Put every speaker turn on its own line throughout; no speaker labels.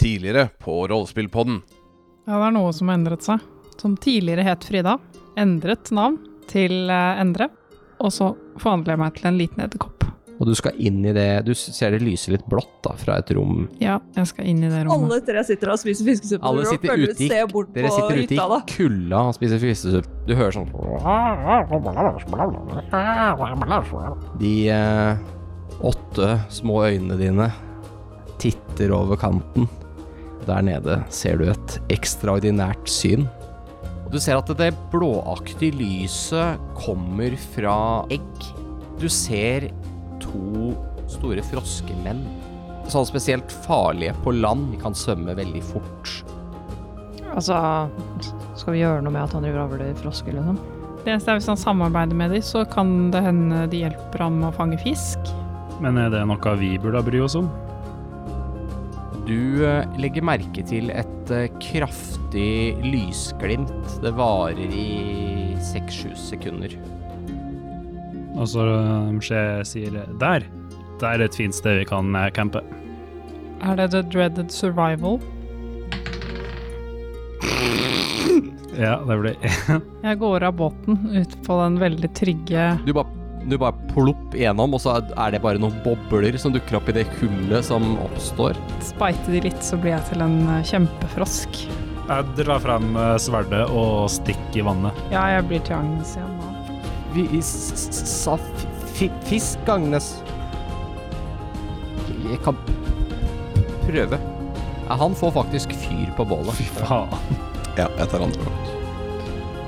tidligere på Rollespillpodden.
Ja, det er noe som har endret seg. Som tidligere het Frida. Endret navn til eh, Endre. Og så forvandler jeg meg til en liten edderkopp.
Og du skal inn i det Du ser det lyser litt blått da, fra et rom.
Ja, jeg skal inn i det rommet.
Alle tre sitter og spiser fiskesuppe.
Alle
Dere
sitter
følger-
ute i-
ser bort
Dere
på
sitter ute
hytta, da.
i kulda og spiser fistesuppe. Du hører sånn De eh, åtte små øynene dine titter over kanten. Der nede ser du et ekstraordinært syn. Og du ser at det blåaktige lyset kommer fra egg. Du ser to store froskemenn. Sånn spesielt farlige på land. De kan svømme veldig fort.
Altså, skal vi gjøre noe med at han driver og avler frosker, liksom?
Det eneste er hvis han samarbeider med dem, så kan det hende de hjelper ham med å fange fisk.
Men er det noe vi burde bry oss om?
Du eh, legger merke til et eh, kraftig lysglimt. Det varer i seks-sju sekunder.
Og så um, skje sier der. Det er et fint sted vi kan eh, campe.
Er det The Dreaded Survival?
Ja, det blir
Jeg går av båten ut på den veldig trygge
Du bare, du bare plopp gjennom, og så er det bare noen bobler som dukker opp i det hullet som oppstår.
Speite de litt, så blir jeg til en eh, kjempefrosk.
Jeg drar frem eh, sverdet og stikker i vannet.
Ja, jeg blir til Agnes igjen nå.
Vi sa fisk, Agnes. Jeg kan prøve. Ja, han får faktisk fyr på bålet.
Faen.
Ja, jeg tar andre vakt.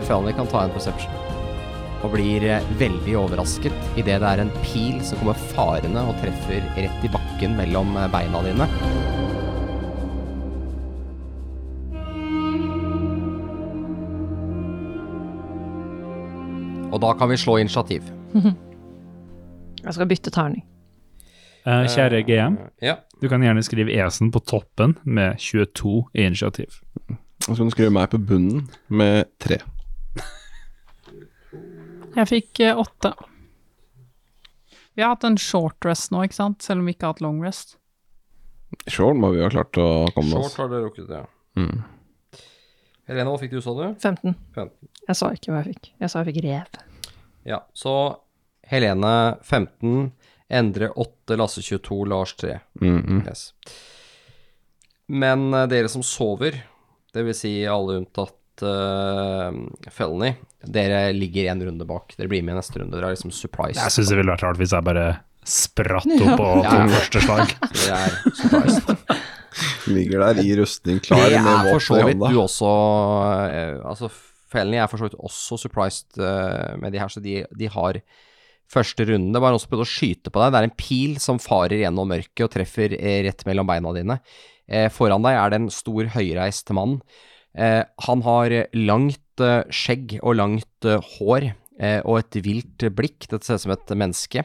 Fanny kan ta en perception. Og blir eh, veldig overrasket idet det er en pil som kommer farende og treffer rett i bakken mellom eh, beina dine. Og da kan vi slå initiativ.
Jeg skal bytte terning.
Eh, Kjære GM,
Ja.
du kan gjerne skrive Esen på toppen med 22 i initiativ.
Og så kan du skrive meg på bunnen med tre.
Jeg fikk eh, åtte. Vi har hatt en short rest nå, ikke sant? Selv om vi ikke har hatt long rest.
Short må vi ha klart å komme oss.
har dere rukket, ja.
Mm.
Helene, hva fikk du, sa du?
15.
15.
Jeg sa ikke hva jeg fikk. Jeg sa jeg fikk rev.
Ja, så Helene 15, Endre 8, Lasse 22, Lars 3. Yes. Men eh, dere som sover, dvs. Si alle unntatt eh, Felony, dere ligger en runde bak. Dere blir med i neste runde. Dere er liksom surprised.
Jeg syns det ville vært rart hvis jeg bare spratt opp på to første slag.
Dere er surprised.
Ligger der i rustning, klar
Dere
med
er for så
våpen i
vidt
hånda.
du også eh, Altså, Felony er for så vidt også surprised eh, med de her, så de, de har første runden. Det var noen som prøvde å skyte på deg. Det er en pil som farer gjennom mørket og treffer eh, rett mellom beina dine. Eh, foran deg er det en stor, høyreist mann. Eh, han har eh, langt eh, skjegg og langt eh, hår eh, og et vilt blikk. Dette ser ut som et menneske.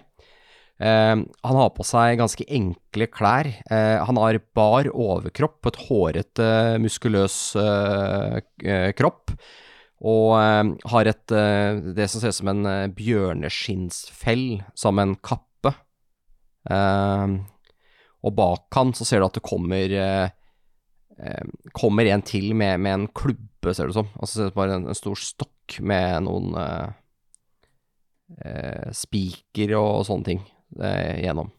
Eh, han har på seg ganske enkle klær. Eh, han har bar overkropp på et hårete, muskuløs eh, eh, kropp. Og eh, har et eh, det som ser ut som en eh, bjørneskinnsfell som en kappe. Eh, og bak han så ser du at det kommer eh, eh, Kommer en til med, med en klubbe, ser det ut som. Og så ser det ut som bare en, en stor stokk med noen eh, eh, spiker og sånne ting eh, gjennom.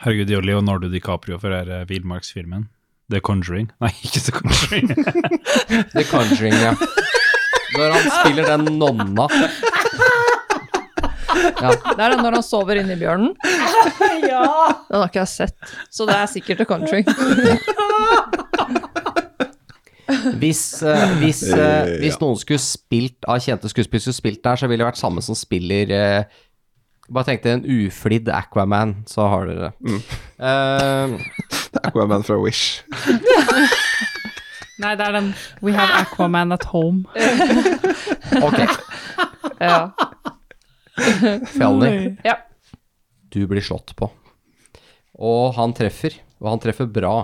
Herregud, det er jo Leonardo DiCaprio for den her, eh, villmarksfilmen. The Conjuring. Nei, ikke The Conjuring.
The Conjuring, ja. Når han spiller den nonna.
Det er den når han sover inni bjørnen. Den har ikke jeg sett, så det er sikkert The Country.
Hvis, eh, hvis, eh,
Eh,
hvis
ja.
noen skulle spilt av kjente skuespillere, skulle spilt der, så ville det vært samme som spiller eh, Bare tenk deg en uflidd Aquaman, så har dere det.
Mm.
Eh,
Aquaman fra Wish.
Nei, det er den We have Aquaman at home.
ok,
Ja.
Felny,
ja.
du blir slått på. Og han treffer, og han treffer bra.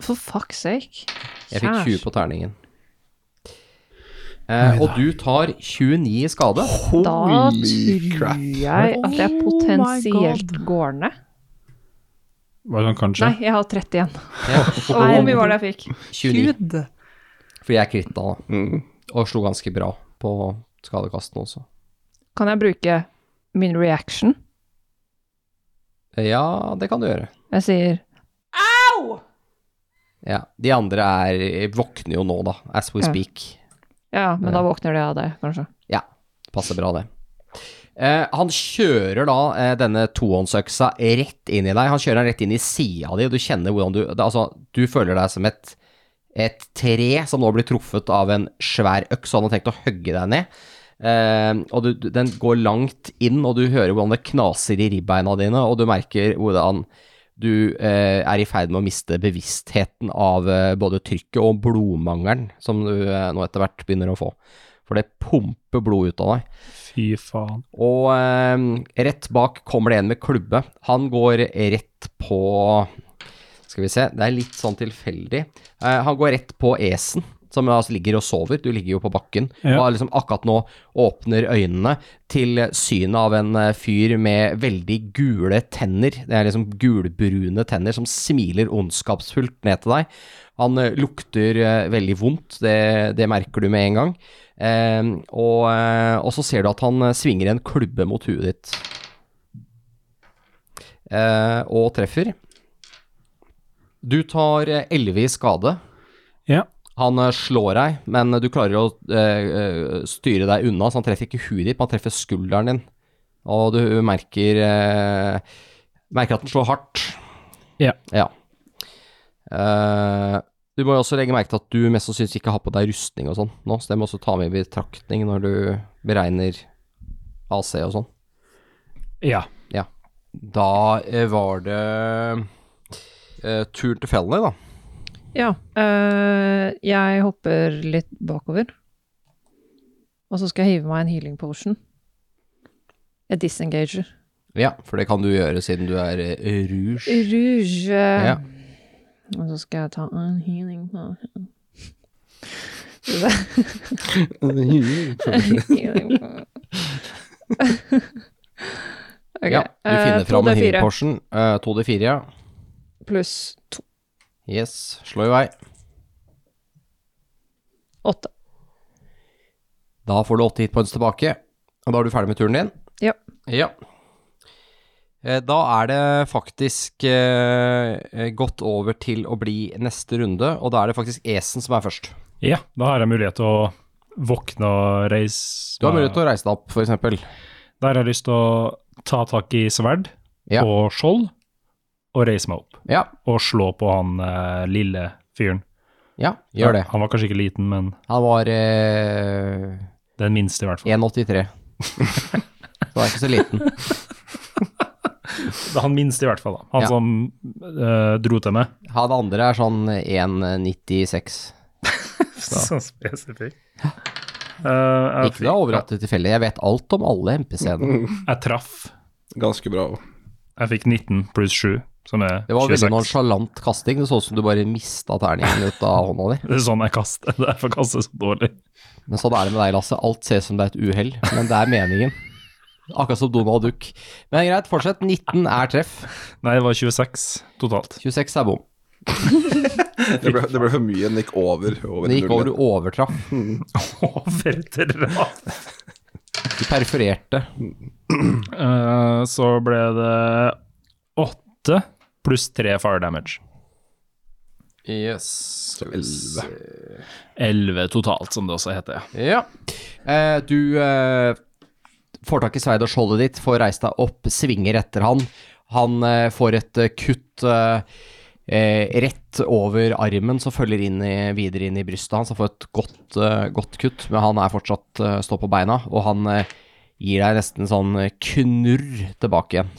For fuck's sake.
Jeg fikk 20 på terningen. Eh, og du tar 29 i skade.
Da
Holy
Oh
tror jeg at jeg potensielt går ned.
Bare sånn kanskje.
Nei, jeg har 30 igjen.
Ja.
Og hvor mye var det jeg fikk?
29.
Gud.
For jeg kritta da,
Mm.
og slo ganske bra på skadekasten også.
Kan jeg bruke min reaction?
Ja, det kan du gjøre.
Jeg sier
Ja. De andre er, våkner jo nå, da, as we
Ja.
speak.
ja, men da våkner de av det, kanskje.
Passer bra, det. Eh, han kjører da eh, denne tohåndsøksa rett inn i deg. Han kjører den rett inn i sida di, og du kjenner hvordan du det, Altså, du føler deg som et, et tre som nå blir truffet av en svær øks, og han har tenkt å hogge deg ned. Eh, og du, du- den går langt inn, og du hører hvordan det knaser i ribbeina dine, og du merker hvordan du eh, er i ferd med å miste bevisstheten av eh, både trykket og blodmangelen som du eh, nå etter hvert begynner å få. For det pumper blod ut av deg.
Fy faen.
Og eh, rett bak kommer det en med klubbe. Han går rett på Skal vi se, det er litt sånn tilfeldig. Eh, han går rett på esen, som altså ligger og sover. Du ligger jo på bakken.
Ja.
Og liksom akkurat nå åpner øynene til synet av en eh, fyr med veldig gule tenner. Det er liksom gulbrune tenner som smiler ondskapsfullt ned til deg. Han eh, lukter eh, veldig vondt, det, det merker du med en gang. Eh, og, eh, og så ser du at han eh, svinger en klubbe mot huet ditt. Eh, og treffer. Du tar eh, 11 i skade.
Ja.
Han eh, slår deg, men du klarer å eh, eh, styre deg unna, så han treffer ikke huet ditt, men han treffer skulderen din. Og du merker eh, Merker at den slår hardt.
Ja.
Eh, du må jo også legge merke til at du mest sannsynlig ikke har på deg rustning og sånn nå, så det må også ta med i betraktning når du beregner AC og sånn.
Ja.
Da eh, var det eh, turen til Felny, da.
Ja. øh, jeg hopper litt bakover. Og så skal jeg hive meg en healing potion. Jeg disengager.
Ja, for det kan du gjøre siden du er eh, rouge.
Rouge.
Ja.
Og så skal jeg ta en healing potion. Healing potion. Ok,
Ja, du
eh,
finner fram en
2D4
healing portion. Eh, 2D4, ja.
Pluss to.
Yes, slå i vei.
Åtte.
Da får du åtte hitpoints tilbake, og da er du ferdig med turen din.
Ja.
Ja. Eh, Da er det faktisk eh, eh, gått over til å bli neste runde, og da er det faktisk Esen som er først.
ja. Da har jeg mulighet til å våkne og reise
Du har mulighet til å reise deg opp, for eksempel.
Der har jeg lyst til å ta tak i sverd
Ja.
og skjold og reise meg opp.
Ja,
Og slå på han eh, lille fyren.
ja, gjør det.
Han var kanskje ikke liten, men
Han var eh,
den minste i hvert fall.
1,83. Så han er ikke så liten.
Det er Han minste i hvert fall, da. Han
Ja.
som eh, dro til meg.
Han andre er sånn 1,96.
Så spesifikt.
Ikke
jeg,
da overraskende tilfeldig. Jeg vet alt om alle MPC-ene.
jeg traff.
Ganske bra. også.
Jeg fikk 19 pluss 7, som er 26.
Det var veldig nonsjalant kasting. Det så ut som du bare mista terningen ut av hånda di.
Det er sånn jeg kaster. Derfor kaster jeg så dårlig.
Men sånn er det med deg, Lasse. Alt ser ut som det er et uhell, men det er meningen. Akkurat som Donald Duck. Men greit, fortsett. 19 er treff.
Nei, det var 26 totalt.
26 er bom.
Det ble, det ble for mye. Den gikk over. over
Det gikk over, du overtraff.
Over traff.
Du perforerte.
Eh, så ble det 8 pluss 3 fire damage.
Yes.
Så 11.
11 totalt, som det også heter.
Ja. Eh, du eh, får tak i sverd og skjoldet ditt, får reist deg opp, svinger etter han. Han eh, får et eh, kutt eh, eh, rett over armen som følger inn i, videre inn i brystet hans. Han får et godt, eh, godt kutt, men han er fortsatt eh, stå på beina, og han eh, gir deg nesten sånn eh, knurr tilbake igjen.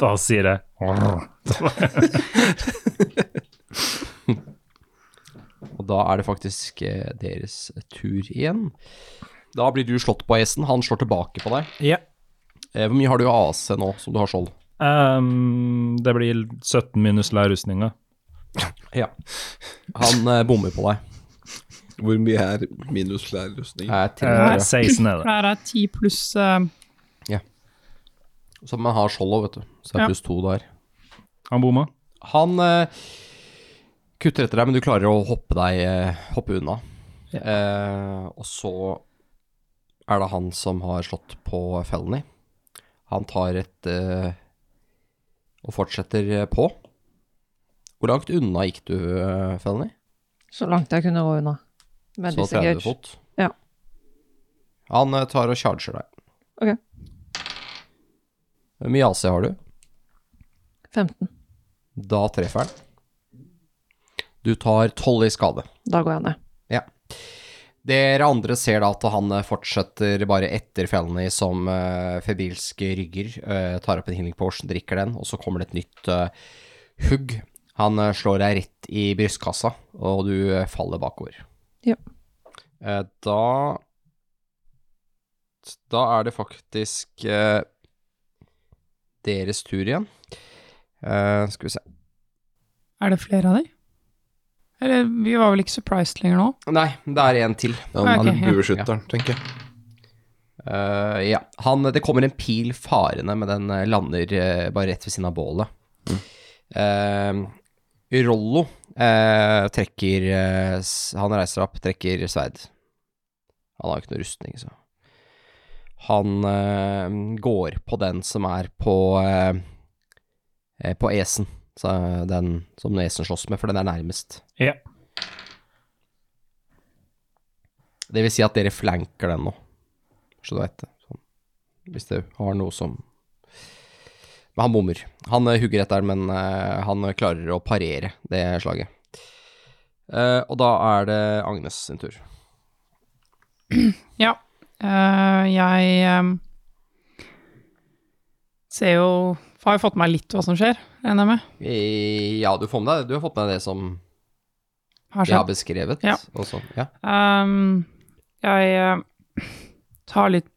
Da sier jeg
Og da er det faktisk eh, deres tur igjen. Da blir du slått på hesten, han slår tilbake på deg.
Ja.
Eh, hvor mye har du i AC nå, som du har skjold?
Ehm, det blir 17 minus lærrustninga.
Ja. Han eh, bommer på deg.
Hvor mye er minus lærerrustning?
Jeg sånn er til og
Eh,
med
16 er
For
det.
det her er ti pluss eh,
Så man har skjoldet, vet du. Så det
Ja.
er pluss to der.
Han bomma.
Han eh, kutter etter deg, men du klarer å hoppe deg eh, hoppe unna. Eh, og så er det han som har slått på felony. Han tar et eh, og fortsetter eh, på. Hvor langt unna gikk du, eh, felony?
Så langt jeg kunne gå unna. Med
Så 30
disengage.
fot?
Ja.
Han eh, tar og charger deg.
Ok.
Hvor mye AC har du?
15.
Da treffer han. Du tar 12 i skade.
Da går jeg ned.
Dere andre ser da at han eh, fortsetter bare etter Felny som uh, febrilsk rygger, eh, tar opp en healing potion, drikker den, og så kommer det et nytt eh, hugg. Han eh, slår deg rett i brystkassa, og du eh, faller bakover.
Ja.
Eh, da Da er det faktisk eh, deres tur igjen. Eh, skal vi se
Er det flere av de? Eller, vi var vel ikke surprised lenger nå?
Nei, det er en til.
Han
Ok, ja.
bueskytteren, tenker jeg.
Eh, ja, han, det kommer en pil farende, men den eh, lander eh, bare rett ved siden av bålet. Eh, Rollo eh, trekker eh, s- Han reiser opp, trekker sverd. Han har jo ikke noe rustning, så Han eh, går på den som er på eh, eh, På esen. Så eh, den som esen slåss med, for den er nærmest.
Ja.
Det vil si at dere flanker den nå. Så du vet det. Sånn. Hvis du har noe som Men han bommer. Han eh, hugger etter, men eh, han klarer å parere det slaget. Eh, og da er det Agnes sin tur.
Ja. eh, jeg em, ser jo Har jo fått med meg litt hva som skjer, regner jeg med.
I, Eh, ja, du får med deg Du har fått med deg det som
Har
jeg har
skjedd.
beskrevet.
Ja.
Også. Ja.
Ehm, jeg eh, tar litt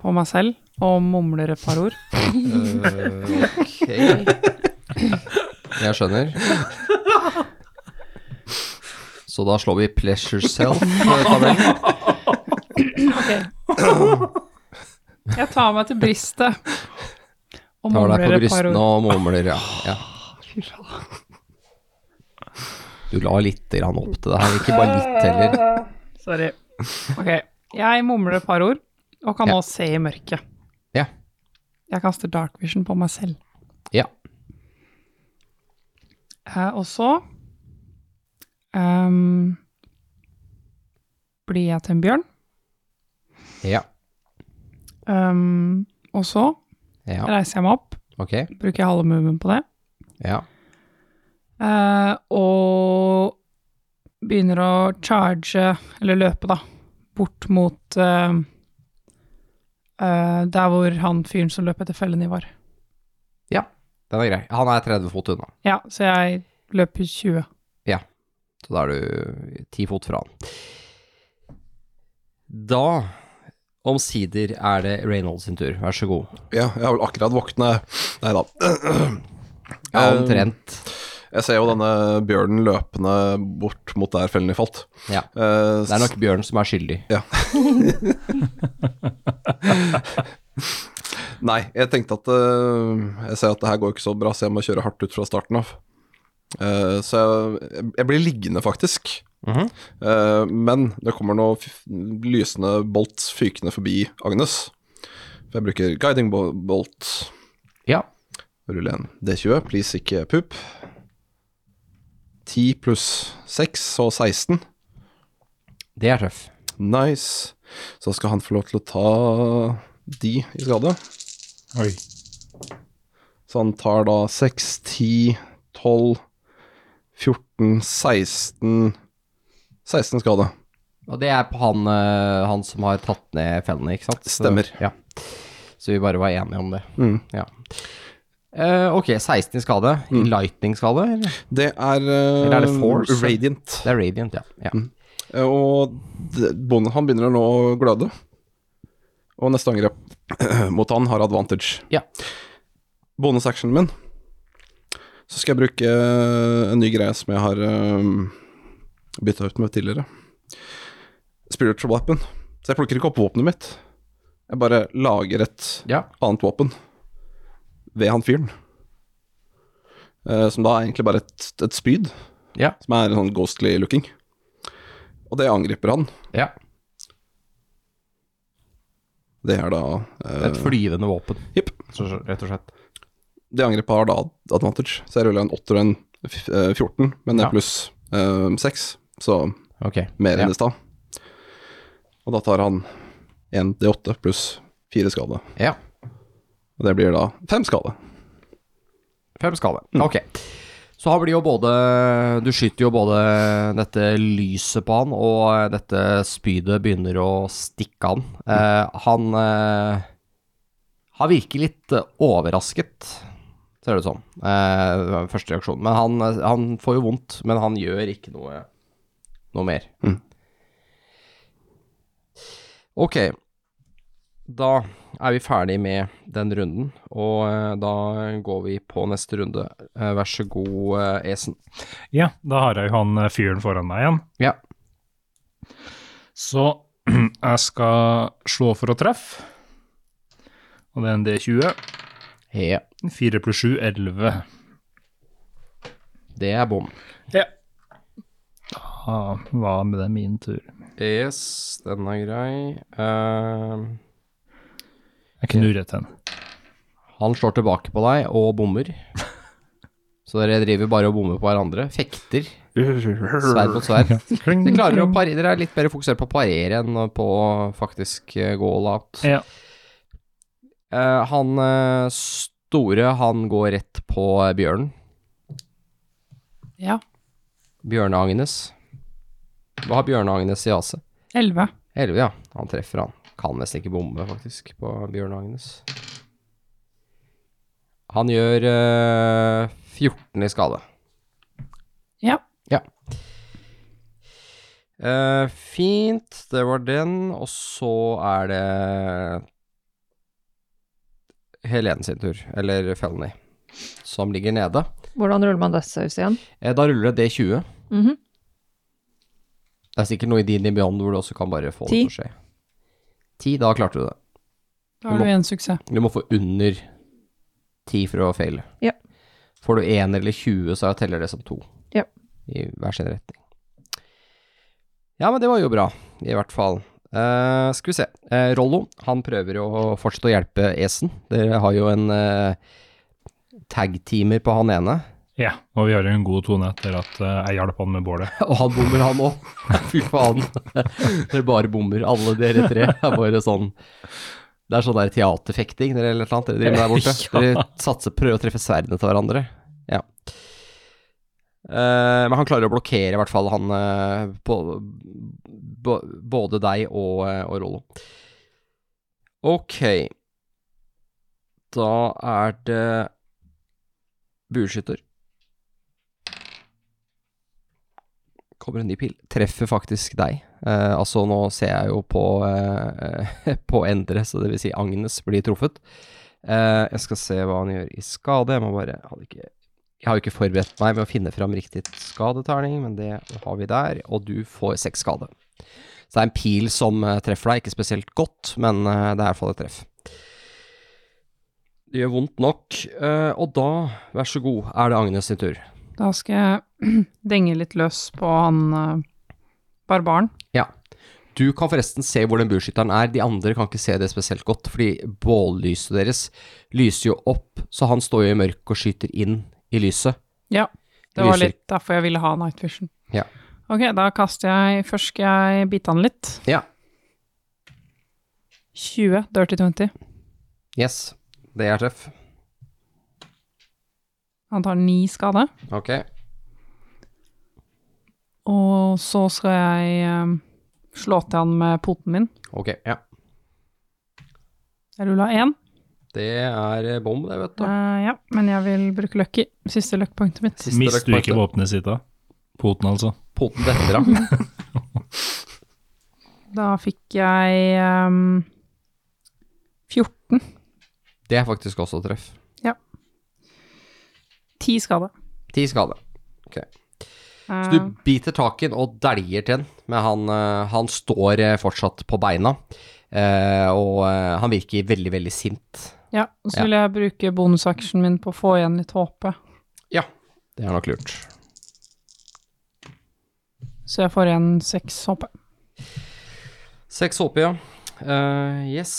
på meg selv og mumler et par ord.
Eh, ok. Jeg skjønner. Så da slår vi 'pleasure eh, self'-tabellen.
Jeg tar meg til bristet og
Tar deg
mumler
på
et par
brystene
ord.
og mumler, ja. ja. Du la litt grann opp til det her, ikke bare litt heller.
Sorry. Ok, jeg mumler et par ord og kan
Ja.
nå se i mørket.
Ja.
Jeg kaster dark vision på meg selv.
Ja.
Eh, og så ehm, blir jeg til en bjørn.
Ja.
Ehm, og så
ja.
reiser jeg meg opp,
Ok.
bruker halve moven på det,
Ja.
eh, og begynner å charge, eller løpe, da, bort mot eh, eh, der hvor han fyren som løp etter fellene var.
ja. Den er grei. Han er 30 fot unna,
Ja, så jeg løper 20.
så da er du 10 fot fra han. Da, omsider, er det Reynolds sin tur. Vær så god.
Ja, jeg har vel akkurat våkna Nei da.
Ja,
Eh,
omtrent.
Jeg ser jo denne bjørnen løpende bort mot der fellene falt.
Ja.
Eh,
Det er nok Bjørn som er skyldig.
Nei, jeg tenkte at eh, Jeg ser at det her går ikke så bra, så jeg må kjøre hardt ut fra starten av. Eh, så jeg, jeg blir liggende, faktisk.
Mhm.
Eh, men det kommer noe f- lysende bolt fykende forbi Agnes. For jeg bruker guiding bo- bolt.
Ja.
Rulle en D20, please ikke pup. 10 pluss 6, så 16.
Det er tøff.
Nice. Så skal han få lov til å ta de i skade.
Oi.
Så han tar da 6, 10, 12, 14, 16 16 skade.
Og det er på han, eh, han som har tatt ned fellene, ikke sant? Så-
Stemmer.
ja. Så vi bare var enige om det.
Mm.
Ja. Eh, ok, 16 i skade.
Mm.
Lightning-skade? eller?
Det er, eh,
Eller er det force?
radiant.
Det er radiant, ja. ja.
Eh, Og d- bonden han begynner nå å gløde. Og neste angrep mot han har advantage.
Ja.
Bonusactionen min. Så skal jeg bruke eh, en ny greie som jeg har um, bytta ut med tidligere. Spiritual weapon. Så jeg plukker ikke opp våpenet mitt. Jeg bare lager et
ja.
annet våpen ved han fyren. eh, som da er egentlig bare et, et spyd,
Ja.
som er sånn ghostly looking. Og det angriper han.
Ja.
Det er da eh,
Et flyvende våpen,
Jepp.
så- så- rett og slett.
Det angrepet har da advantage, så jeg ruller en 8 og en f- eh, 14, men det
Ja.
er pluss eh, 6, så
Ok.
mer
ja.
enn i stad. Og da tar han 1D8 pluss 4 skade.
Ja.
Og det blir da 5 skade.
Fem skade.
Mm.
Ok. Så her blir jo både Du skyter jo både dette lyset på han, og eh, dette spydet begynner å stikke han.
Mm.
Eh, han eh, Han virker litt eh, overrasket, ser det ut som. Eh, det var første reaksjon. Men han, eh, han får jo vondt, men han gjør ikke noe, noe mer.
Mm.
Ok. Da er vi ferdig med den runden, og eh, da går vi på neste runde. Eh, Vær så god, eh, Esen.
Ja, da har jeg jo han eh, fyren foran meg igjen.
Ja.
Så jeg skal slå for å treffe. Og det er en D20.
Ja,
4 pluss 7, 11.
det er bom.
Da var med det min tur.
Yes, den er grei. Eh,
Jeg knurret den.
han slår tilbake på deg og bommer. Så dere driver bare og bommer på hverandre. Fekter sverd mot sverd. Dere klarer å parere, dere er litt bedre fokusert på å parere enn på å faktisk eh, gå all out.
Ja.
Eh, han eh, store, han går rett på eh, bjørnen.
Ja.
Bjørne-Agnes. Hva har Bjørne-Agnes i AC?
11.
11, ja. Han treffer, han. Kan nesten ikke bombe, faktisk, på Bjørn-Agnes. Han gjør eh, 14 i skade.
Ja.
Ja. Eh, fint, det var den. Og så er det Helene sin tur, eller Felny, som ligger nede.
Hvordan ruller man Death Saves igjen?
Eh, da ruller det D20.
Mhm.
Det er sikkert noe i din i Beyond hvor du også kan bare få
Ti.
det til å skje. Ti, da klarte du det.
Da har du en suksess.
Du må få under 10 for å faile.
Ja.
Får du 1 eller 20, så teller det som 2.
Ja.
I hver sin retning. Ja, men det var jo bra, i hvert fall. Eh, skal vi se. Eh, Rollo, han prøver jo å fortsette å hjelpe Esen. Dere har jo en eh, tag-teamer på han ene.
ja, og vi har jo en god tone etter at eh, jeg hjalp han med bålet.
Og han bommer, han òg. Fy faen. Dere bare bommer, alle dere tre. Det er bare sånn Det er sånn der teaterfekting dere eller noe annet dere driver med der borte. Dere satser, prøver å treffe sverdene til hverandre. Ja. Eh, men han klarer å blokkere i hvert fall han eh, på, bo, Både deg og, eh, og Rollo. Ok. Da er det bueskytter. kommer en ny pil. Treffer faktisk deg. Eh, altså, nå ser jeg jo på, eh, på Endre, så det vil si Agnes blir truffet. Eh, jeg skal se hva han gjør i skade. Jeg må bare hadde ikke, Jeg har jo ikke forberedt meg med å finne fram riktig skadeterning, men det har vi der. Og du får seks skade. Så det er en pil som eh, treffer deg. Ikke spesielt godt, men eh, det er i hvert fall et treff. Det gjør vondt nok. Eh, og da, vær så god, er det Agnes sin tur.
Da skal jeg denge litt løs på han eh, barbaren.
Ja. Du kan forresten se hvor den bueskytteren er. De andre kan ikke se det spesielt godt, fordi bållyset deres lyser jo opp, så han står jo i mørket og skyter inn i lyset.
Ja, det var
Lyser.
litt derfor jeg ville ha night vision.
Ja.
Ok, da kaster jeg Først skal jeg bite han litt.
Ja.
20, dirty 20.
Yes, det er treff.
Han tar ni skade.
Ok.
Og så skal jeg eh, slå til han med poten min.
Ok, ja.
Jeg rulla én.
Det er eh, bom, det, vet du.
Eh, ja, men jeg vil bruke lucky. Siste luckpointet mitt.
Siste
Mister du
løkparten.
ikke våpenet sitt da? Poten, altså.
Poten detter av.
Da fikk jeg ehm, 14.
Det er faktisk også treff.
10 skade.
Ti skade. Så
Eh,
du biter tak i den og deljer til den, men han, eh, han står eh, fortsatt på beina, eh, og eh, han virker veldig, veldig sint.
ja, og så
ja.
vil jeg bruke bonusactionen min på å få igjen litt håpe.
Ja, Det er nok lurt.
Så jeg får igjen seks, håper jeg.
Seks HP, ja. Eh, yes.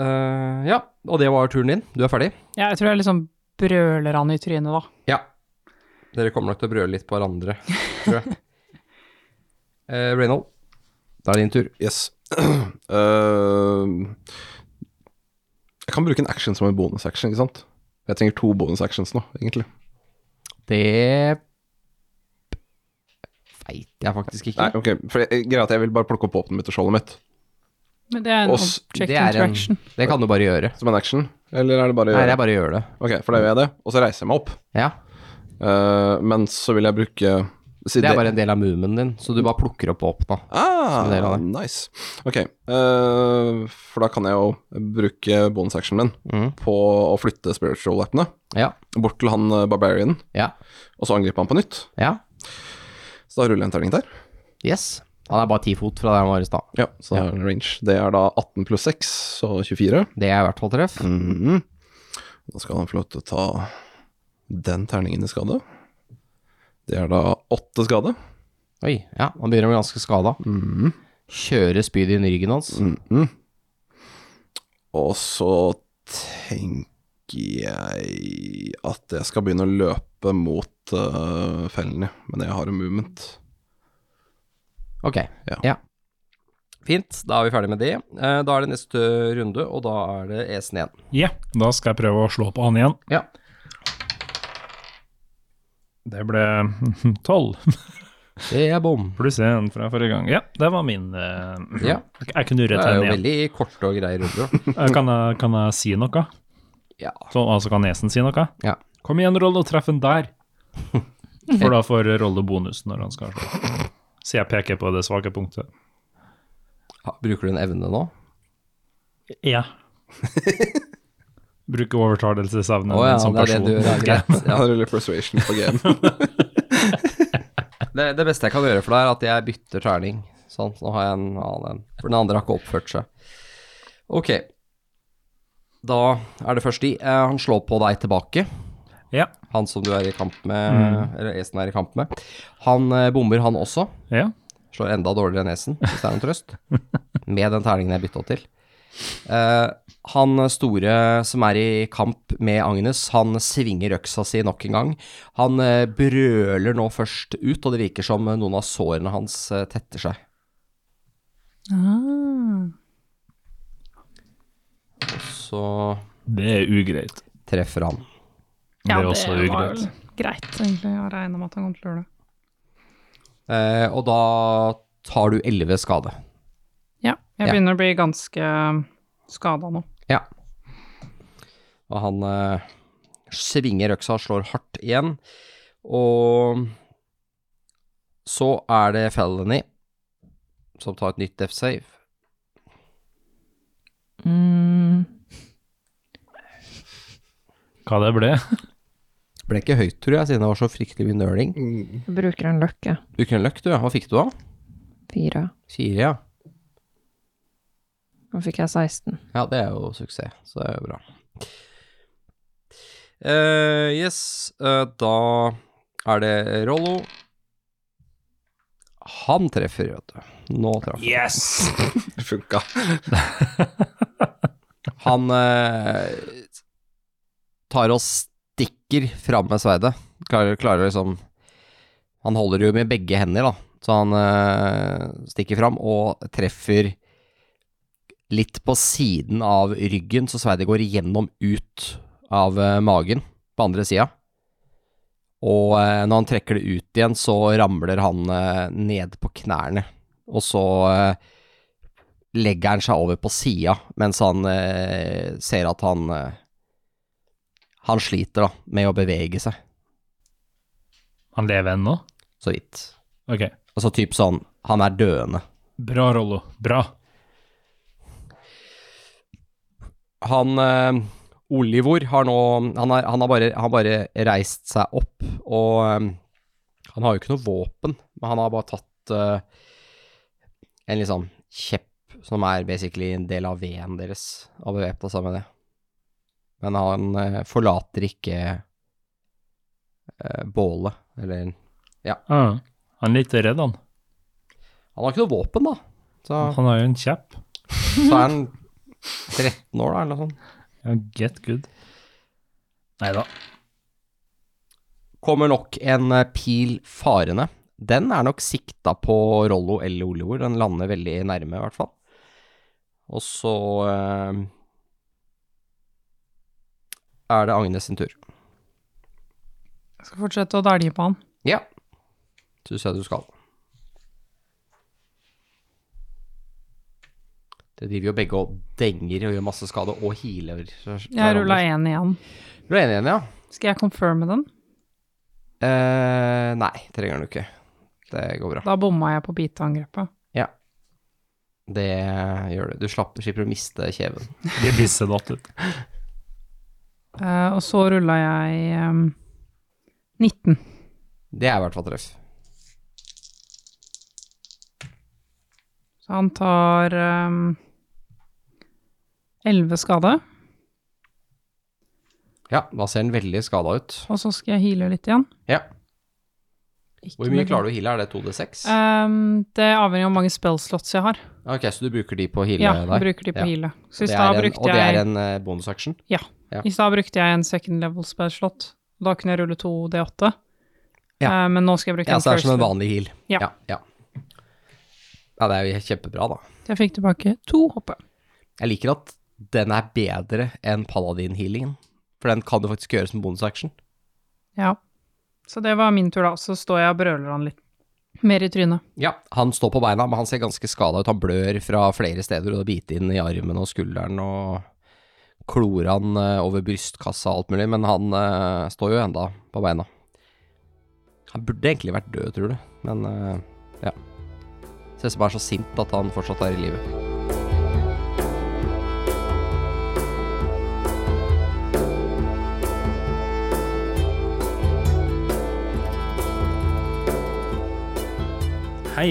Eh, ja, og det var turen din. Du er ferdig?
Ja, jeg tror jeg liksom brøler han i trynet, da.
Ja. Dere kommer nok til å brøle litt på hverandre, tror jeg. uh, Reynold, da er det din tur.
Yes. Eh, jeg kan bruke en action som en bonusaction, ikke sant? Jeg trenger to bonusactions nå, egentlig.
Det veit jeg faktisk ikke.
Nei, ok, for jeg, greia er at jeg vil bare plukke opp våpenet mitt og skjoldet mitt
Men det er en
Oss-
object
det er en-
interaction.
Det kan du bare gjøre.
som en action, eller er det bare å
Nei,
gjøre
jeg bare gjør det.
Ok, for da gjør jeg det, og så reiser jeg meg opp.
Ja.
Eh, men så vil jeg bruke si
Det er bare en del av moomen din, så du bare plukker opp opp da. som en del
ah,
av det.
Nice. Ok, eh, for da kan jeg jo bruke bonusactionen min
Mhm.
på å flytte spiritual-appene
Ja.
bort til han eh, barbarian,
Ja.
og så angripe han på nytt.
Ja.
Så da ruller jeg en terning der.
Yes. Han er bare ti fot fra der han var i stad.
Ja, så da er det range. Det er da 18 pluss 6, så 24.
Det er i hvert fall treff.
Mhm. Da skal han få lov til å ta den terningen i skade. Det er da åtte skade.
Oi, ja. Han begynner å bli ganske skada.
Mhm.
Kjøre spydet inn i ryggen hans.
Mhm. Og så tenker jeg at jeg skal begynne å løpe mot eh, fellene, men jeg har en movement.
Ok.
Ja.
Ja. Fint, da er vi ferdig med det. Eh, Da er det neste runde, og da er det Esen igjen.
Ja, da skal jeg prøve å slå på han igjen.
Ja.
Det ble hm, tolv
Det er bom.
pluss én fra forrige gang. Ja, det var min eh,
Ja.
Jeg kunne
Det
rett
er
henne
jo
igjen.
veldig korte og greie runder.
Eh, Kan jeg, kan jeg si noe?
Ja.
Så, altså kan Esen si noe?
Ja.
Kom igjen, Rolle, og treff en der. For da får Rolle bonus når han skal slå. Så jeg peker på det svake punktet.
Ha- Bruker du en evne nå?
Ja. Bruke overtalelsesevnen
Å ja,
min som
det er det
person.
du gjør. Ja, greit. Ja.
Jeg ruller persuasion på game.
Det, det beste jeg kan gjøre for deg, er at jeg bytter terning. Sånn, så nå har jeg en annen en. For den andre har ikke oppført seg. Ok. Da er det først de. Eh, han slår på deg tilbake.
Ja.
Han som du er i kamp med, eller Esen er i kamp med. Han eh, bommer, han også.
ja.
Slår enda dårligere enn Esen, hvis det er noen trøst. Med den terningen jeg bytta til. Eh, han store som er i kamp med Agnes, han svinger øksa si nok en gang. Han eh, brøler nå først ut, og det virker som eh, noen av sårene hans eh, tetter seg.
Ah.
Så
Det er ugreit.
treffer han.
Det er også
var
ugreit.
vel greit, egentlig. Jeg regner med at han kommer til å gjøre det.
Eh, og da tar du elleve skade.
Ja, jeg
Ja.
begynner å bli ganske skada nå.
Ja. Og han eh, svinger øksa, slår hardt igjen. Og så er det Felony som tar et nytt death save.
Mm,
Hva det ble?
Ble ikke høyt, tror jeg, siden det var så fryktelig mye nøling.
jeg bruker en løkke.
Bruker en løk, du. ja. Hva fikk du da?
Fire.
Fire, ja.
Nå fikk jeg 16.
Ja, det er jo suksess, så det er jo bra. Eh, yes, eh, da er det Rollo. Han treffer, vet du. Nå traff han.
Yes!
Det funka.
Han eh, tar og stikker fram med sverdet. Klarer, klarer liksom Han holder det jo med begge hender, da. Så han eh, stikker fram og treffer litt på siden av ryggen, så sverdet går igjennom ut av eh, magen på andre sida. Og eh, når han trekker det ut igjen, så ramler han eh, ned på knærne. Og så eh, legger han seg over på sida mens han eh, ser at han eh, Han sliter da med å bevege seg,
Han lever ennå?
så vidt.
Ok.
Altså typ sånn Han er døende.
Bra, Rollo. Bra.
Han eh, Olivor har nå han, er, han, har bare, han har bare reist seg opp, og eh, han har jo ikke noe våpen, men han har bare tatt eh, en liksom kjepp som er basically en del av veden deres, og bevæpna seg med det. Men han eh, forlater ikke eh, bålet. Eller
Ah, han er litt redd, han.
Han har ikke noe våpen, da. Så,
Han er jo en kjapp.
så er han 13 år, da, eller noe sånt.
Ja, get good. Nei da.
Kommer nok en eh, pil farende. Den er nok sikta på Rollo eller Oliver. Den lander veldig nærme, i hvert fall. Og så eh, er det Agnes sin tur.
Jeg skal fortsette å dælje på han.
Ja. Syns jeg du skal. Det driver jo begge og denger og gjør masse skade og healer.
Jeg rulla én igjen.
Rulla én igjen, ja.
Skal jeg confirme den?
Eh, nei, trenger du ikke. Det går bra.
Da bomma jeg på biteangrepet.
Det gjør du. Du slapp, slipper å miste kjeven.
Det blir sedatt ut.
Eh, og så rulla jeg ehm, 19.
Det er i hvert fall treff.
Så han tar ehm, 11 skade,
Ja, da ser den veldig skada ut.
og så skal jeg heale litt igjen.
Ja. Hvor mye klarer du å heale? Er det 2D6?
Ehm, det avhenger av hvor mange spellslots jeg har.
Ok, så du bruker de på å heale
Ja, jeg
der?
bruker de på
Ja.
heale. Så i
Det er
stad
en- og
brukte
det er
jeg
en eh, bonusaction? ja.
I stad brukte jeg en second level spellslot. Da kunne jeg rulle 2 D8.
Ja.
Eh, men nå skal jeg bruke
Ja,
en
så det er
first.
som en vanlig heal.
Ja.
Ja, ja. Ja, det er jo kjempebra, da.
Jeg fikk tilbake to hoppe.
Jeg liker at den er bedre enn paladin-healingen. For den kan du faktisk gjøre som bonusaction.
Ja. Så det var min tur, da. Så står jeg og brøler han litt mer i trynet.
Ja, han står på beina, men han ser ganske skada ut. Han blør fra flere steder, og det biter inn i armen og skulderen og klor han eh, over brystkassa og alt mulig, men han eh, står jo enda på beina. Han burde egentlig vært død, tror du, men eh, ja. Ser ut som han er så sint at han fortsatt er i live.
Hei,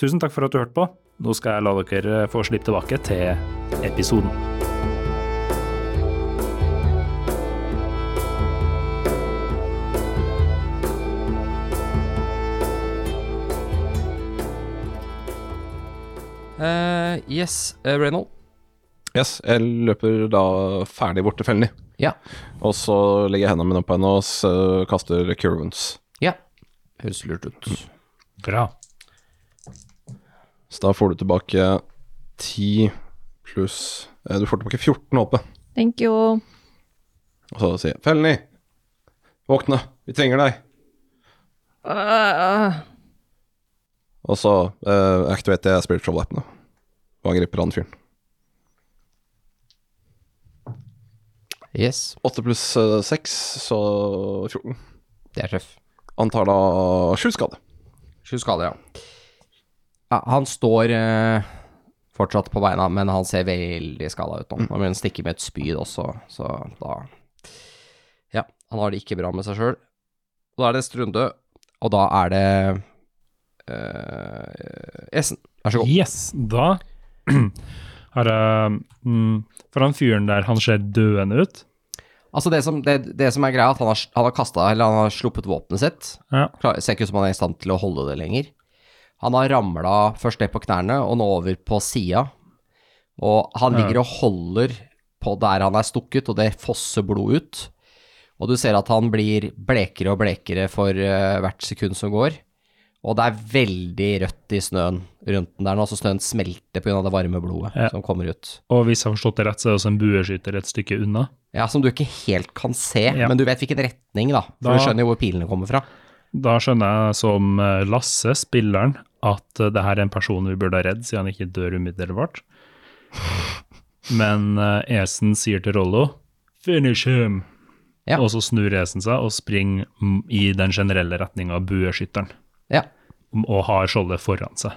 Tusen takk for at du hørte på. Nå skal jeg la dere eh, få slippe tilbake til episoden.
Eh, yes, uh, Reynold.
Yes, jeg løper da ferdig bort til Felny.
Ja.
Og så legger jeg hendene mine opp på henne og s- eh, kaster cure wounds.
Ja. Høres lurt ut.
Bra.
Så da får du tilbake 10 pluss eh, Du får tilbake 14 HP.
Thank you.
Og så sier jeg Felny, våkne, vi trenger deg.
Øh,
Og så uh, aktiverer jeg spiritual weapon da. og angriper han fyren.
Yes,
8 pluss 6, så 14.
det er treff.
Han tar da 7 skade.
Sju skader, ja. ja. Han står eh, fortsatt på beina, men han ser veldig skada ut nå. Nå blir han stikket med et spyd også, så da Ja, han har det ikke bra med seg sjøl. Da er det neste runde, og da er det eh, Essen, vær så god.
Yes, da har jeg mm, For han fyren der, han ser døende ut.
Altså, det som, det, det som er greia, er at han har, han har kasta, eller han har sluppet våpenet sitt.
Ja.
Klar, ser ikke ut som han er i stand til å holde det lenger. Han har ramla først ned på knærne, og nå over på sida. Og han ligger og holder på der han er stukket, og det fosser blod ut. Og du ser at han blir blekere og blekere for eh, hvert sekund som går. Og det er veldig rødt i snøen rundt den der nå, så snøen smelter pga. det varme blodet
Ja.
som kommer ut.
Og hvis jeg har forstått det rett, så er det også en bueskytter et stykke unna.
Ja, Som du ikke helt kan se,
Ja.
men du vet hvilken retning, da. For
Da-
du skjønner jo hvor pilene kommer fra.
Da skjønner jeg som eh, Lasse, spilleren, at eh, det her er en person vi burde ha redd, siden han ikke dør umiddelbart. Men eh, Esen sier til Rollo 'finish him',
Ja.
og så snur Esen seg og springer mm, i den generelle retninga av bueskytteren,
Ja.
og har skjoldet foran seg.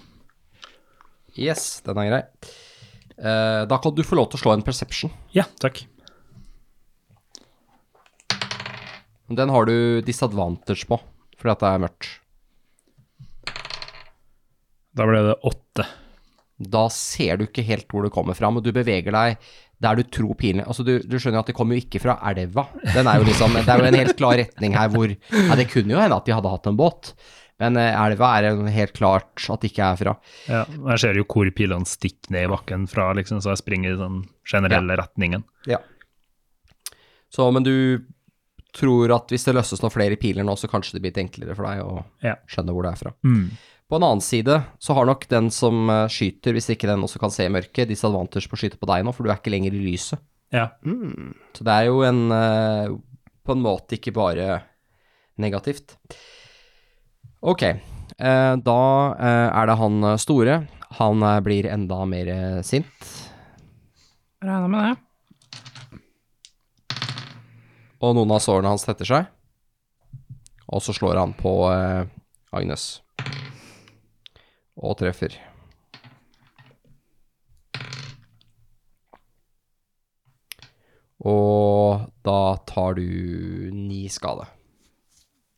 Yes, den er grei. Eh, da kan du få lov til å slå en perception.
Ja, takk.
Den har du disadvantage på, fordi at det er mørkt.
Da ble det åtte.
Da ser du ikke helt hvor det kommer fra, men du beveger deg der du tror pilene Altså, du, du skjønner at det kommer jo ikke fra elva. Den er jo liksom, det er jo en helt klar retning her hvor Ja, det kunne jo hende at de hadde hatt en båt, men eh, elva er en helt klart at det ikke er fra.
Ja, og jeg ser jo hvor pilene stikker ned i bakken fra, liksom, så jeg springer i den generelle retningen.
Ja. Så, men du tror at hvis det løses noen flere piler nå, så kanskje det blir litt enklere for deg å
Ja.
skjønne hvor det er fra.
Mm.
På en annen side så har nok den som eh, skyter, hvis ikke den også kan se i mørket, disadvantage på å skyte på deg nå, for du er ikke lenger i lyset.
Ja.
Så det er jo en eh, på en måte ikke bare negativt. Ok, eh, da eh, er det han eh, store. Han eh, blir enda mer eh, sint.
Regner med det.
Og noen av sårene hans tetter seg. Og så slår han på eh, Agnes. Og treffer. Og da tar du ni skade.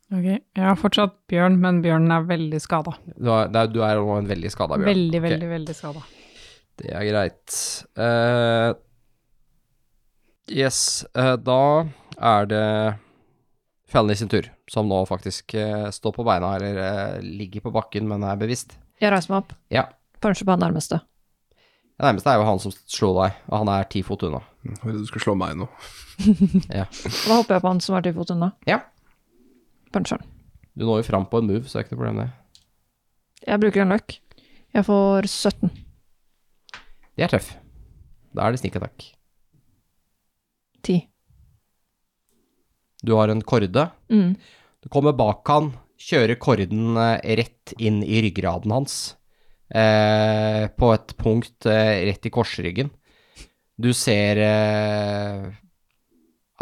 Ok, Jeg har fortsatt bjørn, men bjørnen er veldig skada.
Du er, det er- du er nå en veldig skada bjørn.
Veldig,
Ok,
veldig, veldig skada.
Det er greit. Eh, yes, eh, da er det Fellen i sin tur, som nå faktisk eh, står på beina, eller eh, ligger på bakken, men er bevisst.
Jeg reiser meg opp.
Ja.
Puncher på han nærmeste.
Det nærmeste er jo han som slo deg, og han er ti fot unna.
Jeg vil at Du skal slå meg nå.
Og da hopper jeg på han som er ti fot unna.
Ja.
Puncher han.
Du når jo fram på en move, så det er ikke noe problem, det.
Jeg bruker en løk. Jeg får 17.
De er tøff. Da er det sneakattack.
10.
Du har en korde.
Mm.
Du kommer bak han, kjører korden eh, rett inn i ryggraden hans, eh, på et punkt eh, rett i korsryggen. Du ser eh,